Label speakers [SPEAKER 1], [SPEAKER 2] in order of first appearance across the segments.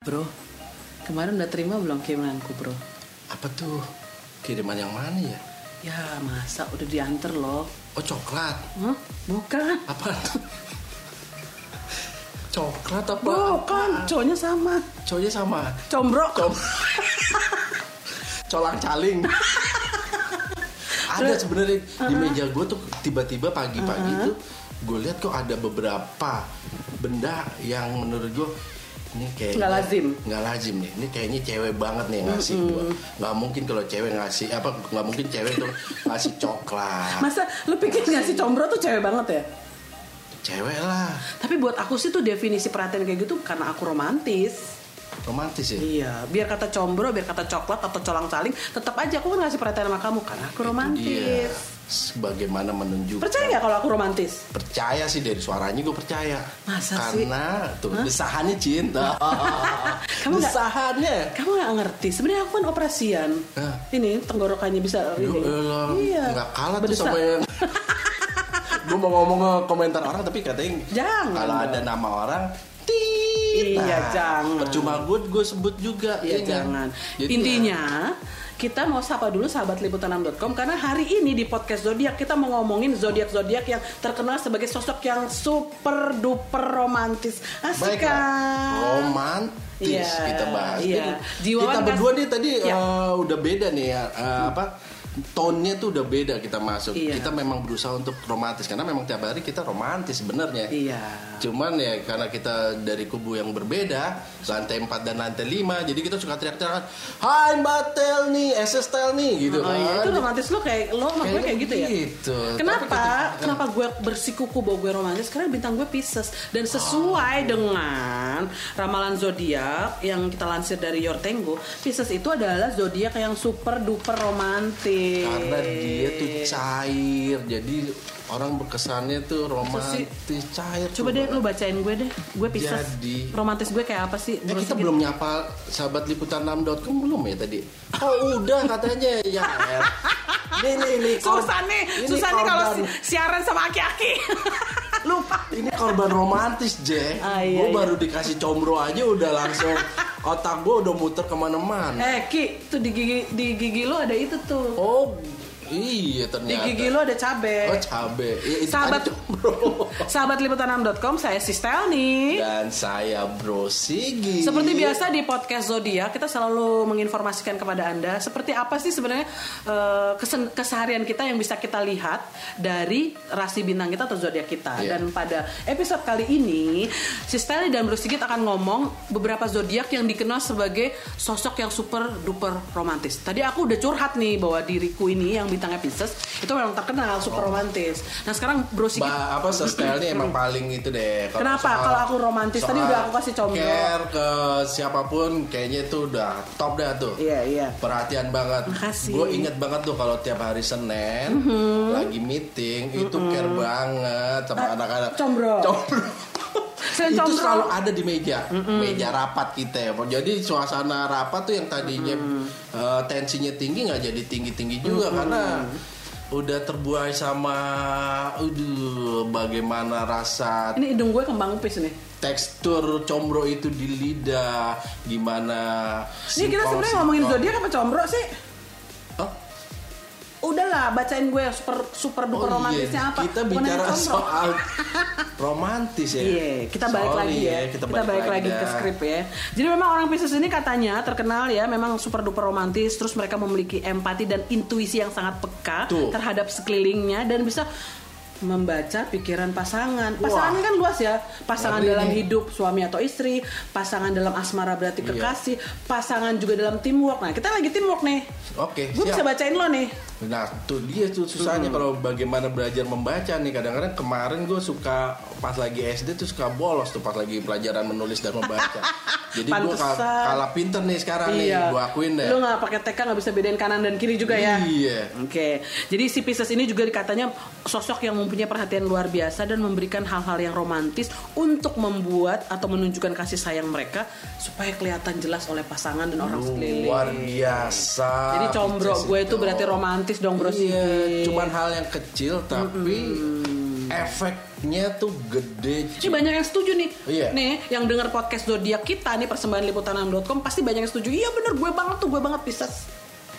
[SPEAKER 1] Bro, kemarin udah terima belum kirimanku, bro?
[SPEAKER 2] Apa tuh? Kiriman yang mana ya?
[SPEAKER 1] Ya, masa udah diantar loh.
[SPEAKER 2] Oh coklat.
[SPEAKER 1] Hah? Bukan.
[SPEAKER 2] Apa? coklat apa?
[SPEAKER 1] Bukan, cowoknya sama.
[SPEAKER 2] Cowoknya sama.
[SPEAKER 1] Combro.
[SPEAKER 2] Com Colang caling. ada sebenarnya di
[SPEAKER 1] Uh-huh.
[SPEAKER 2] meja gue tuh tiba-tiba pagi-pagi tuh gue lihat kok ada beberapa benda yang menurut gue ini kayak
[SPEAKER 1] Nggak lazim.
[SPEAKER 2] nggak lazim nih ini kayaknya cewek banget nih yang ngasih gue nggak mungkin kalau cewek ngasih apa nggak mungkin cewek tuh ngasih coklat
[SPEAKER 1] Masa lu pikir nggak sih combro tuh cewek banget ya?
[SPEAKER 2] cewek lah
[SPEAKER 1] Tapi buat aku sih tuh definisi perhatian kayak gitu karena aku romantis.
[SPEAKER 2] romantis ya
[SPEAKER 1] Iya, biar kata combro, biar kata coklat atau colang caling, tetap aja aku kan ngasih perhatian sama kamu karena aku
[SPEAKER 2] dia
[SPEAKER 1] romantis.
[SPEAKER 2] bagaimana Iya, menunjukkan
[SPEAKER 1] Percaya nggak kalau aku romantis?
[SPEAKER 2] percaya sih dari suaranya gue percaya
[SPEAKER 1] Masa sih?
[SPEAKER 2] karena tuh desahannya cinta
[SPEAKER 1] Kamu nggak-
[SPEAKER 2] desahannya
[SPEAKER 1] Kamu nggak ngerti. Sebenarnya aku kan operasian.
[SPEAKER 2] Hah?
[SPEAKER 1] Ini tenggorokannya bisa.
[SPEAKER 2] Yo,
[SPEAKER 1] ini.
[SPEAKER 2] Ya
[SPEAKER 1] Iya.
[SPEAKER 2] elah, nggak kalah tuh
[SPEAKER 1] Berdesak.
[SPEAKER 2] sama yang gue mau ngomong ke komentar orang tapi katanya
[SPEAKER 1] Jangan
[SPEAKER 2] kalau
[SPEAKER 1] dong.
[SPEAKER 2] ada nama orang tit
[SPEAKER 1] Iya,
[SPEAKER 2] Nah,
[SPEAKER 1] jangan.
[SPEAKER 2] percuma gue gue sebut juga
[SPEAKER 1] Iya
[SPEAKER 2] kan?
[SPEAKER 1] jangan.
[SPEAKER 2] Jadi
[SPEAKER 1] Intinya kita mau sapa dulu sahabat liputan6.com karena hari ini di podcast zodiak kita mau ngomongin zodiak zodiak yang terkenal sebagai sosok yang super duper romantis. Asik
[SPEAKER 2] Baiklah, Oh.
[SPEAKER 1] kan?
[SPEAKER 2] romantis
[SPEAKER 1] Iya,
[SPEAKER 2] kita bahas.
[SPEAKER 1] iya.
[SPEAKER 2] Jadi,
[SPEAKER 1] Jiwawan
[SPEAKER 2] kita
[SPEAKER 1] kas-
[SPEAKER 2] berdua nih tadi
[SPEAKER 1] Iya.
[SPEAKER 2] eh, udah beda nih ya eh, apa tonnya tuh udah beda kita masuk.
[SPEAKER 1] Iya.
[SPEAKER 2] Kita memang berusaha untuk romantis karena memang tiap hari kita romantis sebenarnya.
[SPEAKER 1] Iya.
[SPEAKER 2] Cuman ya karena kita dari kubu yang berbeda, lantai 4 dan lantai 5, jadi kita suka teriak-teriak, "Hai Mbak Telni, SS Telni" gitu
[SPEAKER 1] Oh iya,
[SPEAKER 2] kan.
[SPEAKER 1] itu romantis lo kayak lo sama gue kayak gitu ya.
[SPEAKER 2] Gitu.
[SPEAKER 1] Kenapa?
[SPEAKER 2] Tapi ketika-
[SPEAKER 1] Kenapa gue bersikuku bahwa gue romantis? Karena bintang gue Pisces dan sesuai dengan ramalan zodiak yang kita lansir dari Your Tango, Pisces itu adalah zodiak yang super duper romantis.
[SPEAKER 2] karena dia tuh cair jadi orang berkesannya
[SPEAKER 1] sih?
[SPEAKER 2] tuh romantis cair
[SPEAKER 1] Coba
[SPEAKER 2] tuh,
[SPEAKER 1] deh
[SPEAKER 2] Bang.
[SPEAKER 1] lu bacain gue deh. Gue Pisces.
[SPEAKER 2] Jadi-
[SPEAKER 1] Romantis gue kayak apa sih?
[SPEAKER 2] Ya,
[SPEAKER 1] Browsing
[SPEAKER 2] kita belum nyapa sahabat liputan 6.com belum ya tadi? Oh udah katanya ya. El. Nih nih nih.
[SPEAKER 1] gitu.
[SPEAKER 2] kor-
[SPEAKER 1] Susah nih,
[SPEAKER 2] ini
[SPEAKER 1] susah nih kalau
[SPEAKER 2] korban-
[SPEAKER 1] si- siaran sama aki-aki. Lupa.
[SPEAKER 2] ini korban romantis Jack.
[SPEAKER 1] Ah, iya,
[SPEAKER 2] gue
[SPEAKER 1] iya.
[SPEAKER 2] baru dikasih combro aja udah langsung otak gue udah muter kemana-mana.
[SPEAKER 1] Eh Ki, tuh di gigi di gigi lo ada itu tuh.
[SPEAKER 2] Oh iya
[SPEAKER 1] Di
[SPEAKER 2] ternyata.
[SPEAKER 1] gigi lo ada cabe.
[SPEAKER 2] Oh cabe. Ya, itu
[SPEAKER 1] Sahabat-
[SPEAKER 2] tadi combro.
[SPEAKER 1] Sahabat liputan6.com, saya Sistel nih.
[SPEAKER 2] Dan saya Bro Sigi.
[SPEAKER 1] Seperti biasa di podcast Zodiak, kita selalu menginformasikan kepada Anda seperti apa sih sebenarnya eh, kesen- keseharian kita yang bisa kita lihat dari rasi bintang kita atau zodiak kita.
[SPEAKER 2] Iya.
[SPEAKER 1] Dan pada episode kali ini, si Steli dan Bro Sigit akan ngomong beberapa zodiak yang dikenal sebagai sosok yang super duper romantis. Tadi aku udah curhat nih bahwa diriku ini yang bintangnya Pisces itu memang terkenal super romantis. Nah, sekarang Bro Sigit
[SPEAKER 2] Ba- apa style emang paling itu deh. Kalau
[SPEAKER 1] Kenapa? Kalau aku romantis, tadi
[SPEAKER 2] soal
[SPEAKER 1] udah aku kasih combro.
[SPEAKER 2] Care ke siapapun kayaknya itu udah top dah tuh.
[SPEAKER 1] Iya, iya.
[SPEAKER 2] Perhatian banget.
[SPEAKER 1] Makasih. Mm-hmm.
[SPEAKER 2] Gue inget banget tuh kalau tiap hari Senin lagi meeting itu care banget sama
[SPEAKER 1] Nah,
[SPEAKER 2] anak-anak.
[SPEAKER 1] combro.
[SPEAKER 2] Combro.
[SPEAKER 1] Selain
[SPEAKER 2] itu
[SPEAKER 1] combro.
[SPEAKER 2] selalu ada di meja, meja rapat kita ya. Jadi suasana rapat tuh yang tadinya eh, tensinya tinggi nggak jadi tinggi-tinggi juga karena udah terbuai sama, aduh, bagaimana rasa
[SPEAKER 1] ini hidung gue kembang pis nih.
[SPEAKER 2] tekstur combro itu di lidah, gimana?
[SPEAKER 1] Ini kita
[SPEAKER 2] singkong-
[SPEAKER 1] sebenarnya ngomongin
[SPEAKER 2] singkong.
[SPEAKER 1] zodiak apa combro sih?
[SPEAKER 2] Hah?
[SPEAKER 1] Udahlah, bacain gue yang super super duper
[SPEAKER 2] Oh
[SPEAKER 1] romantisnya
[SPEAKER 2] iya,
[SPEAKER 1] apa?
[SPEAKER 2] kita
[SPEAKER 1] Bukan yang
[SPEAKER 2] bicara
[SPEAKER 1] combro.
[SPEAKER 2] soal romantis ya.
[SPEAKER 1] Iya, kita balik
[SPEAKER 2] Sorry
[SPEAKER 1] lagi ya.
[SPEAKER 2] Kita, balik,
[SPEAKER 1] lagi, ke
[SPEAKER 2] dah.
[SPEAKER 1] skrip ya. Jadi memang orang Pisces ini katanya terkenal ya, memang super duper romantis, terus mereka memiliki empati dan intuisi yang sangat peka
[SPEAKER 2] Tuh.
[SPEAKER 1] terhadap sekelilingnya dan bisa membaca pikiran pasangan. Pasangan
[SPEAKER 2] Wah.
[SPEAKER 1] kan luas ya. Pasangan
[SPEAKER 2] Ngeri
[SPEAKER 1] dalam
[SPEAKER 2] nih.
[SPEAKER 1] hidup suami atau istri, pasangan dalam asmara berarti
[SPEAKER 2] Iya.
[SPEAKER 1] kekasih, pasangan juga dalam teamwork. Nah, kita lagi teamwork nih.
[SPEAKER 2] Oke,
[SPEAKER 1] Gue
[SPEAKER 2] siap.
[SPEAKER 1] bisa bacain lo nih.
[SPEAKER 2] Nah, tuh dia tuh
[SPEAKER 1] Hmm.
[SPEAKER 2] susahnya kalau bagaimana belajar membaca nih. Kadang-kadang kemarin gue suka pas lagi SD tuh suka bolos tuh pas lagi pelajaran menulis dan membaca. Jadi gue
[SPEAKER 1] Pantesan.
[SPEAKER 2] kalah pinter nih sekarang Ah, nih, gue akuin deh.
[SPEAKER 1] Iya. Lu nggak pakai TK nggak bisa bedain kanan dan kiri juga ya.
[SPEAKER 2] Iya.
[SPEAKER 1] Oke. Jadi si Pisces ini juga dikatanya sosok yang mempunyai perhatian luar biasa dan memberikan hal-hal yang romantis untuk membuat atau menunjukkan kasih sayang mereka supaya kelihatan jelas oleh pasangan dan orang sekeliling.
[SPEAKER 2] Luar biasa. Iya,
[SPEAKER 1] Jadi combro
[SPEAKER 2] Pisces
[SPEAKER 1] gue itu berarti romantis dong, Bro.
[SPEAKER 2] Iya, cuman hal yang kecil tapi efek gapnya tuh gede.
[SPEAKER 1] Ini banyak yang setuju nih.
[SPEAKER 2] Iya.
[SPEAKER 1] Nih, yang dengar podcast zodiak kita nih persembahan liputan6.com pasti banyak yang setuju. Iya bener gue banget tuh, gue banget Pisces.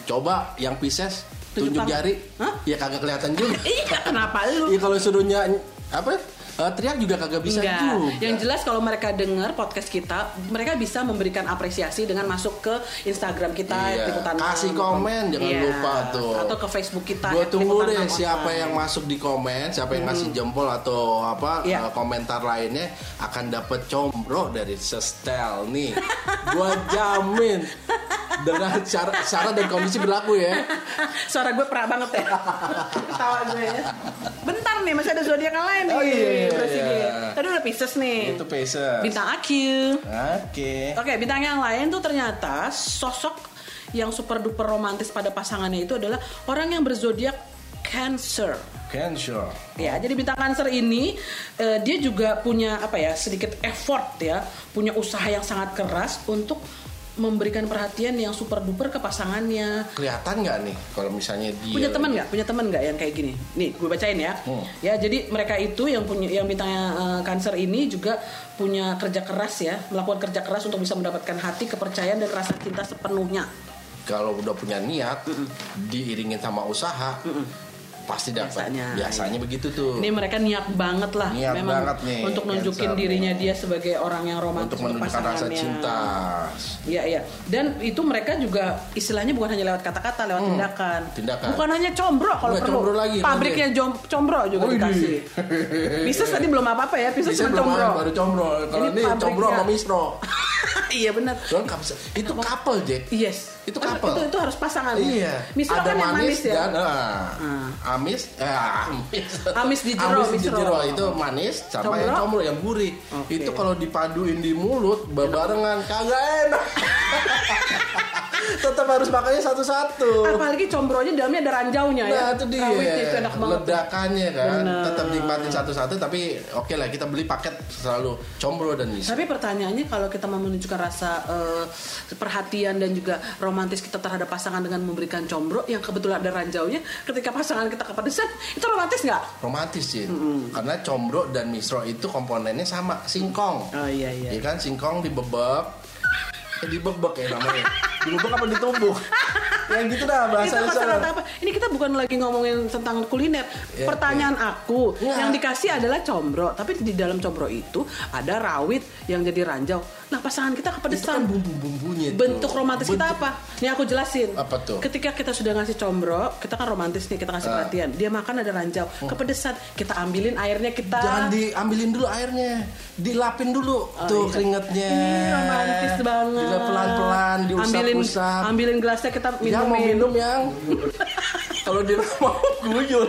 [SPEAKER 2] Coba yang Pisces
[SPEAKER 1] Tunjuk
[SPEAKER 2] tunjuk
[SPEAKER 1] tangan.
[SPEAKER 2] jari.
[SPEAKER 1] Hah?
[SPEAKER 2] Ya kagak kelihatan juga.
[SPEAKER 1] Iya, kenapa lu?
[SPEAKER 2] Iya kalau suruh nyanyi apa? eh, teriak juga kagak bisa
[SPEAKER 1] Enggak.
[SPEAKER 2] juga.
[SPEAKER 1] Yang jelas kalau mereka dengar podcast kita, mereka bisa memberikan apresiasi dengan masuk ke Instagram kita
[SPEAKER 2] Iya.
[SPEAKER 1] liputan Iya.
[SPEAKER 2] Kasih komen, jangan lupa tuh.
[SPEAKER 1] Atau ke Facebook kita. ya,
[SPEAKER 2] Gue tunggu deh
[SPEAKER 1] liputan6
[SPEAKER 2] siapa
[SPEAKER 1] online.
[SPEAKER 2] yang masuk di komen, siapa yang ngasih jempol atau apa
[SPEAKER 1] Iya.
[SPEAKER 2] eh, komentar lainnya akan dapet combro dari sestel nih. Gua jamin dengan cara cara dan kondisi berlaku ya.
[SPEAKER 1] Suara gue perak banget ya. Ketawa gue ya. Bentar nih masih ada zodiak yang lain nih.
[SPEAKER 2] Oh, iya, iya,
[SPEAKER 1] Bro Sigit.
[SPEAKER 2] iya.
[SPEAKER 1] Tadi udah Pisces nih.
[SPEAKER 2] Itu Pisces.
[SPEAKER 1] Bintang AQ.
[SPEAKER 2] Oke.
[SPEAKER 1] Oke, bintang yang lain tuh ternyata sosok yang super duper romantis pada pasangannya itu adalah orang yang berzodiak Cancer.
[SPEAKER 2] Cancer.
[SPEAKER 1] Ya, jadi bintang Cancer ini eh, dia juga punya apa ya, sedikit effort ya, punya usaha yang sangat keras untuk memberikan perhatian yang super duper ke pasangannya.
[SPEAKER 2] Kelihatan nggak nih kalau misalnya dia
[SPEAKER 1] Punya teman nggak? Punya teman nggak yang kayak gini? Nih, gue bacain ya.
[SPEAKER 2] Hmm.
[SPEAKER 1] Ya, jadi mereka itu yang punya yang bintangnya eh, Cancer ini juga punya kerja keras ya, melakukan kerja keras untuk bisa mendapatkan hati, kepercayaan dan rasa cinta sepenuhnya.
[SPEAKER 2] kalau udah punya niat diiringin sama usaha pasti dapat.
[SPEAKER 1] Biasanya.
[SPEAKER 2] Biasanya, begitu tuh.
[SPEAKER 1] Ini mereka niat banget lah,
[SPEAKER 2] Oh. Niat
[SPEAKER 1] memang
[SPEAKER 2] banget nih,
[SPEAKER 1] untuk nunjukin
[SPEAKER 2] Cancer
[SPEAKER 1] dirinya
[SPEAKER 2] nih.
[SPEAKER 1] dia sebagai orang yang romantis
[SPEAKER 2] untuk menunjukkan rasa
[SPEAKER 1] pasangannya.
[SPEAKER 2] cinta.
[SPEAKER 1] Iya iya. Dan itu mereka juga istilahnya bukan hanya lewat kata-kata, lewat tindakan.
[SPEAKER 2] Hmm. tindakan.
[SPEAKER 1] Bukan hanya combro kalau
[SPEAKER 2] Nggak,
[SPEAKER 1] perlu.
[SPEAKER 2] combro lagi,
[SPEAKER 1] Pabriknya jom- combro juga
[SPEAKER 2] Wih.
[SPEAKER 1] dikasih. Pisces tadi belum apa-apa ya, Pisces
[SPEAKER 2] Bisa
[SPEAKER 1] cuma
[SPEAKER 2] belum
[SPEAKER 1] combro.
[SPEAKER 2] ada, baru combro. Kalau
[SPEAKER 1] Ini
[SPEAKER 2] ini
[SPEAKER 1] pabriknya.
[SPEAKER 2] combro sama misro.
[SPEAKER 1] iya benar.
[SPEAKER 2] Soalnya nggak bisa. Itu couple, Jack.
[SPEAKER 1] Yes.
[SPEAKER 2] Itu
[SPEAKER 1] Kan
[SPEAKER 2] couple.
[SPEAKER 1] Itu, itu harus pasangan.
[SPEAKER 2] Iya.
[SPEAKER 1] Misal
[SPEAKER 2] ada
[SPEAKER 1] kan yang
[SPEAKER 2] manis,
[SPEAKER 1] manis ya.
[SPEAKER 2] dan ah, amis, eh, amis.
[SPEAKER 1] Amis di jero,
[SPEAKER 2] Amis di
[SPEAKER 1] misro.
[SPEAKER 2] jero. itu manis sama
[SPEAKER 1] Combro.
[SPEAKER 2] yang combro yang gurih.
[SPEAKER 1] Oke.
[SPEAKER 2] Itu kalau dipaduin di mulut barengan kagak enak. Tetap harus makannya satu-satu.
[SPEAKER 1] Apalagi combronya dalamnya ada ranjaunya ya.
[SPEAKER 2] Nah itu dia
[SPEAKER 1] Rawitnya itu enak banget.
[SPEAKER 2] ledakannya kan
[SPEAKER 1] Bener.
[SPEAKER 2] tetap nikmatin satu-satu tapi oke lah kita beli paket selalu combro dan bisa.
[SPEAKER 1] Tapi pertanyaannya kalau kita mau menunjukkan rasa eh, perhatian dan juga romantis kita terhadap pasangan dengan memberikan combro yang kebetulan ada ranjaunya, ketika pasangan kita kepedesan, itu romantis nggak?
[SPEAKER 2] romantis sih karena combro dan misro itu komponennya sama singkong
[SPEAKER 1] Oh iya iya.
[SPEAKER 2] ya kan singkong dibebek eh, dibebek ya namanya dibebek apa ditumbuk yang gitu dah
[SPEAKER 1] Itu
[SPEAKER 2] bahasa
[SPEAKER 1] masalah apa? Ini kita bukan lagi ngomongin tentang kuliner.
[SPEAKER 2] Ya,
[SPEAKER 1] Pertanyaan aku
[SPEAKER 2] Ya.
[SPEAKER 1] yang dikasih adalah combro, tapi di dalam combro itu ada rawit yang jadi ranjau. Nah pasangan kita
[SPEAKER 2] itu kan
[SPEAKER 1] kepedesan.
[SPEAKER 2] bumbu-bumbunya tuh.
[SPEAKER 1] bentuk romantis kita
[SPEAKER 2] Bentuk-
[SPEAKER 1] apa? Nih aku jelasin.
[SPEAKER 2] Apa tuh?
[SPEAKER 1] Ketika kita sudah ngasih combro, kita kan romantis nih, kita ngasih
[SPEAKER 2] Ah. Oh.
[SPEAKER 1] perhatian. Dia makan ada ranjau, kepedesan, kita ambilin airnya kita.
[SPEAKER 2] jangan diambilin dulu airnya dilapin dulu tuh
[SPEAKER 1] iya.
[SPEAKER 2] keringetnya
[SPEAKER 1] Ih, romantis banget.
[SPEAKER 2] Dilap pelan-pelan
[SPEAKER 1] ambilin
[SPEAKER 2] diusap-usap
[SPEAKER 1] ambilin gelasnya kita minum.
[SPEAKER 2] yang mau minum yang kalau di rumah guyur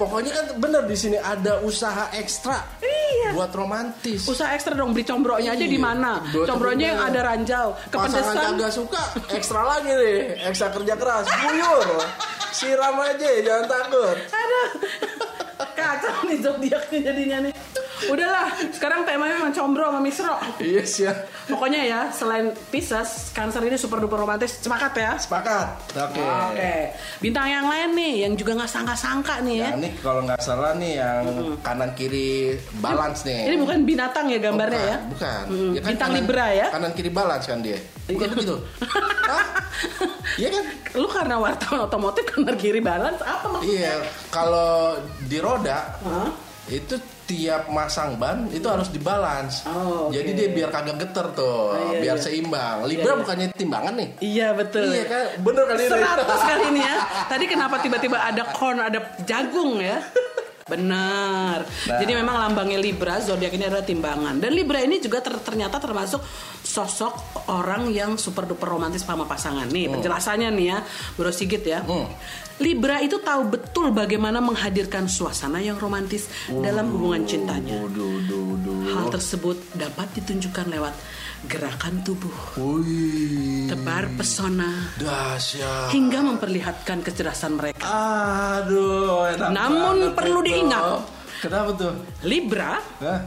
[SPEAKER 2] pokoknya kan bener di sini ada usaha ekstra
[SPEAKER 1] Iya.
[SPEAKER 2] buat romantis
[SPEAKER 1] Usaha ekstra dong beli combronya aja di
[SPEAKER 2] Iya.
[SPEAKER 1] mana?
[SPEAKER 2] Betul.
[SPEAKER 1] Combronya yang ada ranjau, kepedesan.
[SPEAKER 2] pasangan kagak suka ekstra lagi nih ekstra kerja keras guyur siram aja jangan takut
[SPEAKER 1] Aduh. Kacau nih zodiaknya jadinya nih. Udahlah, sekarang temanya memang combro sama misro.
[SPEAKER 2] iya siap
[SPEAKER 1] Pokoknya ya, selain Pisces, Cancer ini super duper romantis. Semangat ya.
[SPEAKER 2] sepakat oke
[SPEAKER 1] Oke. Bintang yang lain nih yang juga nggak sangka-sangka nih ya.
[SPEAKER 2] Nah, ini kalau nggak salah nih yang kanan kiri balance nih
[SPEAKER 1] Ini bukan binatang ya gambarnya
[SPEAKER 2] bukan,
[SPEAKER 1] ya.
[SPEAKER 2] Bukan.
[SPEAKER 1] Hmm,
[SPEAKER 2] Ya kan
[SPEAKER 1] Bintang
[SPEAKER 2] kanan-
[SPEAKER 1] Libra ya. Iya.
[SPEAKER 2] Kanan kiri balance kan dia. Bukan begitu. Hah? Iya kan?
[SPEAKER 1] Lu karena wartawan otomotif kanan kiri balance apa maksudnya?
[SPEAKER 2] Iya. Kalau di roda
[SPEAKER 1] Hah?
[SPEAKER 2] itu tiap masang ban itu harus dibalance.
[SPEAKER 1] Oh, oke.
[SPEAKER 2] Jadi dia biar kagak geter tuh,
[SPEAKER 1] Oh, iya,
[SPEAKER 2] biar
[SPEAKER 1] iya.
[SPEAKER 2] seimbang. Libra bukannya timbangan nih.
[SPEAKER 1] Iya betul.
[SPEAKER 2] Iya kan? Bener kali ini.
[SPEAKER 1] 100 kali ini ya. Tadi kenapa tiba-tiba ada corn, ada jagung ya? Benar.
[SPEAKER 2] Nah.
[SPEAKER 1] Jadi memang lambangnya Libra, zodiak ini adalah timbangan. Dan Libra ini juga ter- ternyata termasuk sosok orang yang super duper romantis sama pasangan.
[SPEAKER 2] Hmm.
[SPEAKER 1] Nih, penjelasannya nih ya, Bro Sigit ya. Libra itu tahu betul bagaimana menghadirkan suasana yang romantis dalam
[SPEAKER 2] Oh.
[SPEAKER 1] hubungan cintanya.
[SPEAKER 2] Duh, duh, duh.
[SPEAKER 1] Hal tersebut dapat ditunjukkan lewat gerakan tubuh,
[SPEAKER 2] Wih.
[SPEAKER 1] tebar pesona,
[SPEAKER 2] Dahsyat.
[SPEAKER 1] hingga memperlihatkan kecerdasan mereka.
[SPEAKER 2] Aduh, enak
[SPEAKER 1] Namun
[SPEAKER 2] banget
[SPEAKER 1] perlu
[SPEAKER 2] itu.
[SPEAKER 1] diingat.
[SPEAKER 2] Kenapa tuh?
[SPEAKER 1] Libra
[SPEAKER 2] Hah?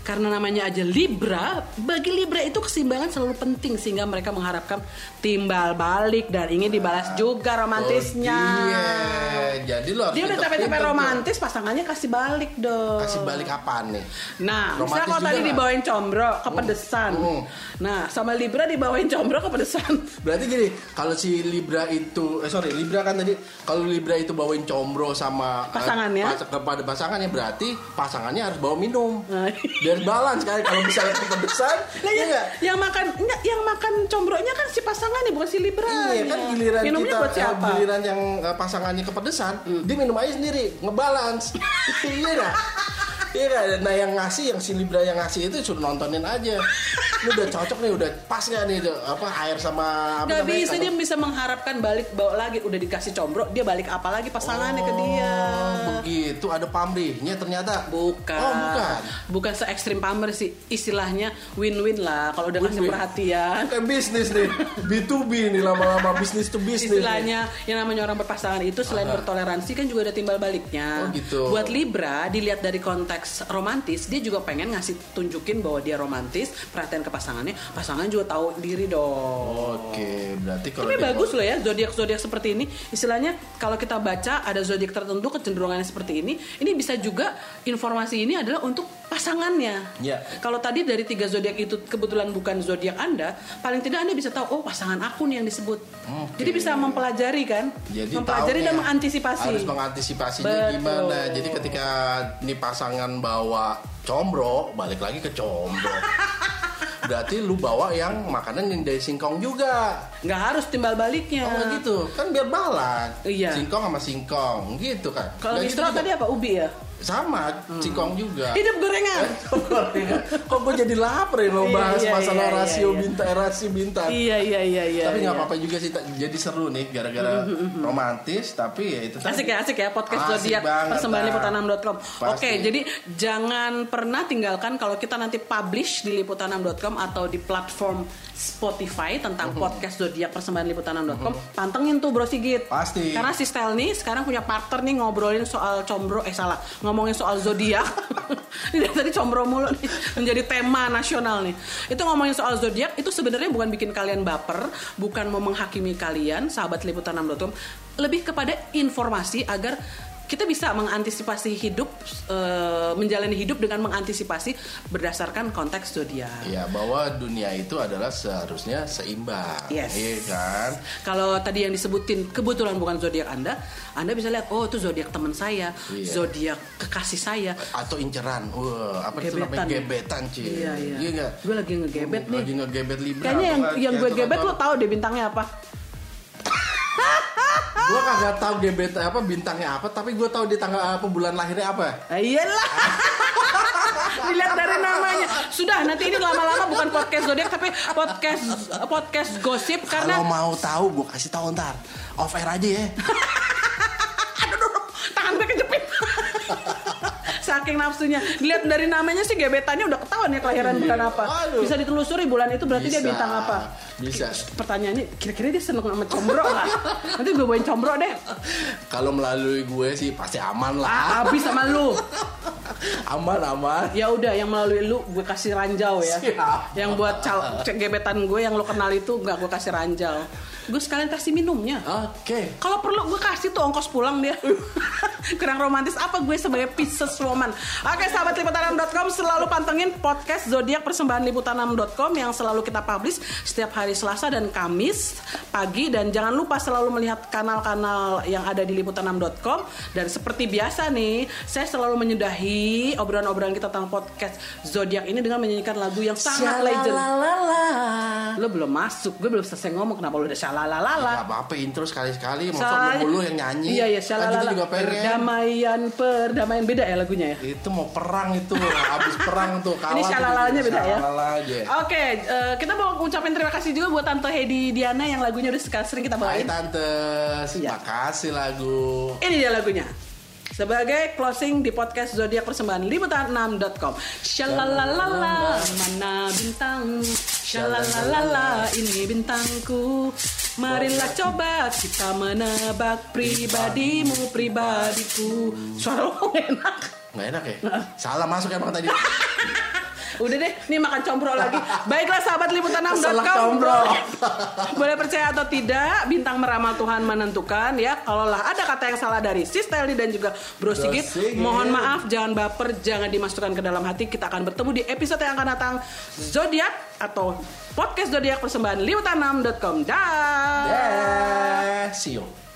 [SPEAKER 1] Karena namanya aja Libra, bagi Libra itu keseimbangan selalu penting sehingga mereka mengharapkan timbal balik dan ingin dibalas juga romantisnya.
[SPEAKER 2] Oh, Iya. Jadi lo harus
[SPEAKER 1] Dia udah
[SPEAKER 2] pinter-pinter
[SPEAKER 1] capek-capek
[SPEAKER 2] tuh.
[SPEAKER 1] romantis, pasangannya kasih balik dong.
[SPEAKER 2] Kasih balik apaan nih?
[SPEAKER 1] Nah,
[SPEAKER 2] Romantis
[SPEAKER 1] misalnya kalau
[SPEAKER 2] juga
[SPEAKER 1] tadi
[SPEAKER 2] nggak? Oh.
[SPEAKER 1] dibawain combro, kepedesan.
[SPEAKER 2] Hmm.
[SPEAKER 1] Nah, sama Libra dibawain combro, kepedesan.
[SPEAKER 2] Berarti gini, kalau si Libra itu, eh sorry, Libra kan tadi, kalau Libra itu bawain combro sama eh,
[SPEAKER 1] Pasangannya.
[SPEAKER 2] pas- kepada pasangannya berarti pasangannya harus bawa minum.
[SPEAKER 1] Nah,
[SPEAKER 2] Biar balance kan kalau misalnya kepedesan,
[SPEAKER 1] Lah,
[SPEAKER 2] iya
[SPEAKER 1] yang,
[SPEAKER 2] nggak?
[SPEAKER 1] yang makan enggak, yang makan combronya kan si pasangannya bukan si Libra.
[SPEAKER 2] Iya kan giliran
[SPEAKER 1] Minumnya
[SPEAKER 2] kita
[SPEAKER 1] buat
[SPEAKER 2] eh,
[SPEAKER 1] siapa? Hmm.
[SPEAKER 2] giliran yang eh, pasangannya kepedesan, dia minum aja sendiri, ngebalance. iya nggak? Iya nggak? Nah yang ngasih, yang si Libra yang ngasih itu suruh nontonin aja. Ini udah cocok nih, udah pas nggak nih apa air sama apa
[SPEAKER 1] Gak
[SPEAKER 2] namanya,
[SPEAKER 1] bisa
[SPEAKER 2] sama-
[SPEAKER 1] dia bisa mengharapkan balik bawa lagi udah dikasih combro dia balik apa lagi pasangannya ke
[SPEAKER 2] Oh,
[SPEAKER 1] dia
[SPEAKER 2] Begitu Gitu, ada pamrihnya ternyata.
[SPEAKER 1] bukan
[SPEAKER 2] Oh, bukan.
[SPEAKER 1] bukan se ekstrim pamer sih istilahnya win-win lah kalau udah ngasih
[SPEAKER 2] Win-win.
[SPEAKER 1] perhatian
[SPEAKER 2] Kayak bisnis nih. B2B nih lama-lama bisnis to bisnis.
[SPEAKER 1] istilahnya yang namanya orang berpasangan itu selain bertoleransi kan juga ada timbal baliknya.
[SPEAKER 2] Oh, gitu.
[SPEAKER 1] Buat Libra dilihat dari konteks romantis, dia juga pengen ngasih tunjukin bahwa dia romantis, perhatian ke pasangannya, pasangan juga tahu diri dong.
[SPEAKER 2] Oke, berarti kalau
[SPEAKER 1] Tapi
[SPEAKER 2] dia-
[SPEAKER 1] bagus loh ya zodiak zodiak seperti ini. Istilahnya kalau kita baca ada zodiak tertentu kecenderungannya seperti ini, ini bisa juga informasi ini adalah untuk pasangannya.
[SPEAKER 2] Iya.
[SPEAKER 1] Kalau tadi dari tiga zodiak itu kebetulan bukan zodiak Anda, paling tidak Anda bisa tahu oh pasangan aku nih yang disebut.
[SPEAKER 2] Oke.
[SPEAKER 1] Jadi bisa mempelajari kan?
[SPEAKER 2] Jadi
[SPEAKER 1] mempelajari
[SPEAKER 2] taunya
[SPEAKER 1] dan mengantisipasi.
[SPEAKER 2] Harus mengantisipasinya
[SPEAKER 1] Betul.
[SPEAKER 2] gimana. Jadi ketika ini pasangan bawa combro, balik lagi ke combro. Berarti lu bawa yang makanan yang dari singkong juga.
[SPEAKER 1] Nggak harus timbal baliknya.
[SPEAKER 2] Oh gitu. Kan biar balance.
[SPEAKER 1] Iya.
[SPEAKER 2] Singkong sama singkong gitu kan.
[SPEAKER 1] Kalau
[SPEAKER 2] Dan
[SPEAKER 1] distro
[SPEAKER 2] gitu juga-
[SPEAKER 1] tadi Hmm. apa ubi ya?
[SPEAKER 2] sama singkong juga.
[SPEAKER 1] Hidup gorengan.
[SPEAKER 2] Oh, Kok gue jadi lapar ya lo
[SPEAKER 1] Iya,
[SPEAKER 2] bahas
[SPEAKER 1] iya,
[SPEAKER 2] masalah
[SPEAKER 1] iya,
[SPEAKER 2] rasio
[SPEAKER 1] iya.
[SPEAKER 2] bintang eh, rasio bintang.
[SPEAKER 1] iya iya iya iya.
[SPEAKER 2] tapi
[SPEAKER 1] iya.
[SPEAKER 2] nggak
[SPEAKER 1] Mm-hmm,
[SPEAKER 2] apa-apa juga sih, ta- jadi seru nih gara-gara romantis tapi ya itu tadi.
[SPEAKER 1] Asik ya, asik ya podcast
[SPEAKER 2] Asik
[SPEAKER 1] zodiak
[SPEAKER 2] banget,
[SPEAKER 1] persembahan
[SPEAKER 2] Bang.
[SPEAKER 1] liputan6.com.
[SPEAKER 2] Pasti.
[SPEAKER 1] Oke, jadi jangan pernah tinggalkan kalau kita nanti publish di liputan6.com atau di platform Spotify tentang
[SPEAKER 2] Mm-hmm.
[SPEAKER 1] podcast zodiak persembahan liputan6.com. Pantengin tuh Bro Sigit.
[SPEAKER 2] Pasti.
[SPEAKER 1] Karena si Stel nih sekarang punya partner nih ngobrolin soal combro eh salah, ngomongin soal zodiak. Ini dari tadi combro mulu nih menjadi tema nasional nih. Itu ngomongin soal zodiak itu sebenarnya bukan bikin kalian baper, bukan mau menghakimi kalian sahabat liputan 6.com, lebih kepada informasi agar kita bisa mengantisipasi hidup eh, menjalani hidup dengan mengantisipasi berdasarkan konteks zodiak.
[SPEAKER 2] Ya bahwa dunia itu adalah seharusnya seimbang,
[SPEAKER 1] Yes.
[SPEAKER 2] iya kan?
[SPEAKER 1] Kalau tadi yang disebutin kebetulan bukan zodiak Anda, Anda bisa lihat oh itu zodiak teman saya,
[SPEAKER 2] Iya.
[SPEAKER 1] zodiak kekasih saya.
[SPEAKER 2] Atau inceran, wah apa itu namanya gebetan
[SPEAKER 1] Gebetan.
[SPEAKER 2] cie,
[SPEAKER 1] Iya, iya.
[SPEAKER 2] nggak?
[SPEAKER 1] Gue lagi ngegebet nih.
[SPEAKER 2] Lagi ngegebet libra. gitu.
[SPEAKER 1] Kayaknya yang yang gue gebet lo
[SPEAKER 2] lo
[SPEAKER 1] tahu deh bintangnya apa.
[SPEAKER 2] Gue kagak tahu gebet apa bintangnya apa, tapi gue tahu di tanggal apa bulan lahirnya apa.
[SPEAKER 1] Ah, Iyalah. Dilihat dari namanya. Sudah nanti ini lama-lama bukan podcast zodiak tapi podcast podcast gosip
[SPEAKER 2] Kalau
[SPEAKER 1] karena
[SPEAKER 2] mau tahu gue kasih tahu ntar off air aja ya.
[SPEAKER 1] aduh aduh, aduh, tangan gue kejepit. Saking nafsunya. Dilihat dari namanya sih gebetannya udah ketahuan ya kelahiran bulan apa.
[SPEAKER 2] Aduh.
[SPEAKER 1] Bisa ditelusuri bulan itu berarti dia
[SPEAKER 2] Iya. Bisa.
[SPEAKER 1] bintang apa.
[SPEAKER 2] Bisa.
[SPEAKER 1] Pertanyaannya kira-kira dia seneng sama combro nggak? Nanti gue bawain combro deh.
[SPEAKER 2] Kalau melalui gue sih pasti aman lah.
[SPEAKER 1] Ah, habis sama lu.
[SPEAKER 2] Aman aman.
[SPEAKER 1] Ya udah yang melalui lu gue kasih ranjau ya.
[SPEAKER 2] Siap.
[SPEAKER 1] Yang buat cal cek gebetan gue yang lo kenal itu nggak gue kasih ranjau. Gue sekalian kasih minumnya.
[SPEAKER 2] Oke.
[SPEAKER 1] Kalau perlu gue kasih tuh ongkos pulang dia. Kurang romantis apa gue sebagai Pisces woman. Oke sahabat liputanam.com selalu pantengin podcast zodiak persembahan liputanam.com yang selalu kita publish setiap hari Selasa dan Kamis pagi dan jangan lupa selalu melihat kanal-kanal yang ada di liputanam.com dan seperti biasa nih saya selalu menyudahi obrolan-obrolan kita tentang podcast zodiak ini dengan menyanyikan lagu yang sangat legend. Lo belum masuk, gue belum selesai ngomong kenapa lo udah shalalalala.
[SPEAKER 2] Gak apa-apa intro sekali-sekali
[SPEAKER 1] Salah.
[SPEAKER 2] Masa mulu yang nyanyi
[SPEAKER 1] Iya iya
[SPEAKER 2] Kan kita
[SPEAKER 1] salah
[SPEAKER 2] juga pengen
[SPEAKER 1] Perdamaian perdamaian beda ya lagunya ya.
[SPEAKER 2] Itu mau perang itu Abis perang tuh kalah
[SPEAKER 1] Ini shalalalanya beda ya.
[SPEAKER 2] Shalala aja
[SPEAKER 1] Oke, eh, kita mau ucapin terima kasih juga buat Tante Hedi Diana yang lagunya udah sekali sering kita
[SPEAKER 2] Hai
[SPEAKER 1] bawain.
[SPEAKER 2] Tante
[SPEAKER 1] Iya.
[SPEAKER 2] Makasih lagu
[SPEAKER 1] Ini dia lagunya. Sebagai closing di podcast Zodiak Persembahan liputan6.com. Shalalalala, mana bintang? Shalalalala, ini bintangku. Marilah coba kita menebak pribadimu, pribadiku. Suara lo enak.
[SPEAKER 2] Gak enak ya Salah masuk emang tadi
[SPEAKER 1] Udah deh, nih makan compro lagi. Baiklah sahabat
[SPEAKER 2] Selak
[SPEAKER 1] liputan6.com.
[SPEAKER 2] combro.
[SPEAKER 1] Boleh percaya atau tidak, bintang meramal Tuhan menentukan ya. Kalaulah ada kata yang salah dari Sis Telly dan juga Bro Sigit,
[SPEAKER 2] Sigit.
[SPEAKER 1] mohon maaf, jangan baper, jangan dimasukkan ke dalam hati. Kita akan bertemu di episode yang akan datang Zodiak atau podcast Zodiak persembahan liputan6.com. Dah.
[SPEAKER 2] Yeah, see you.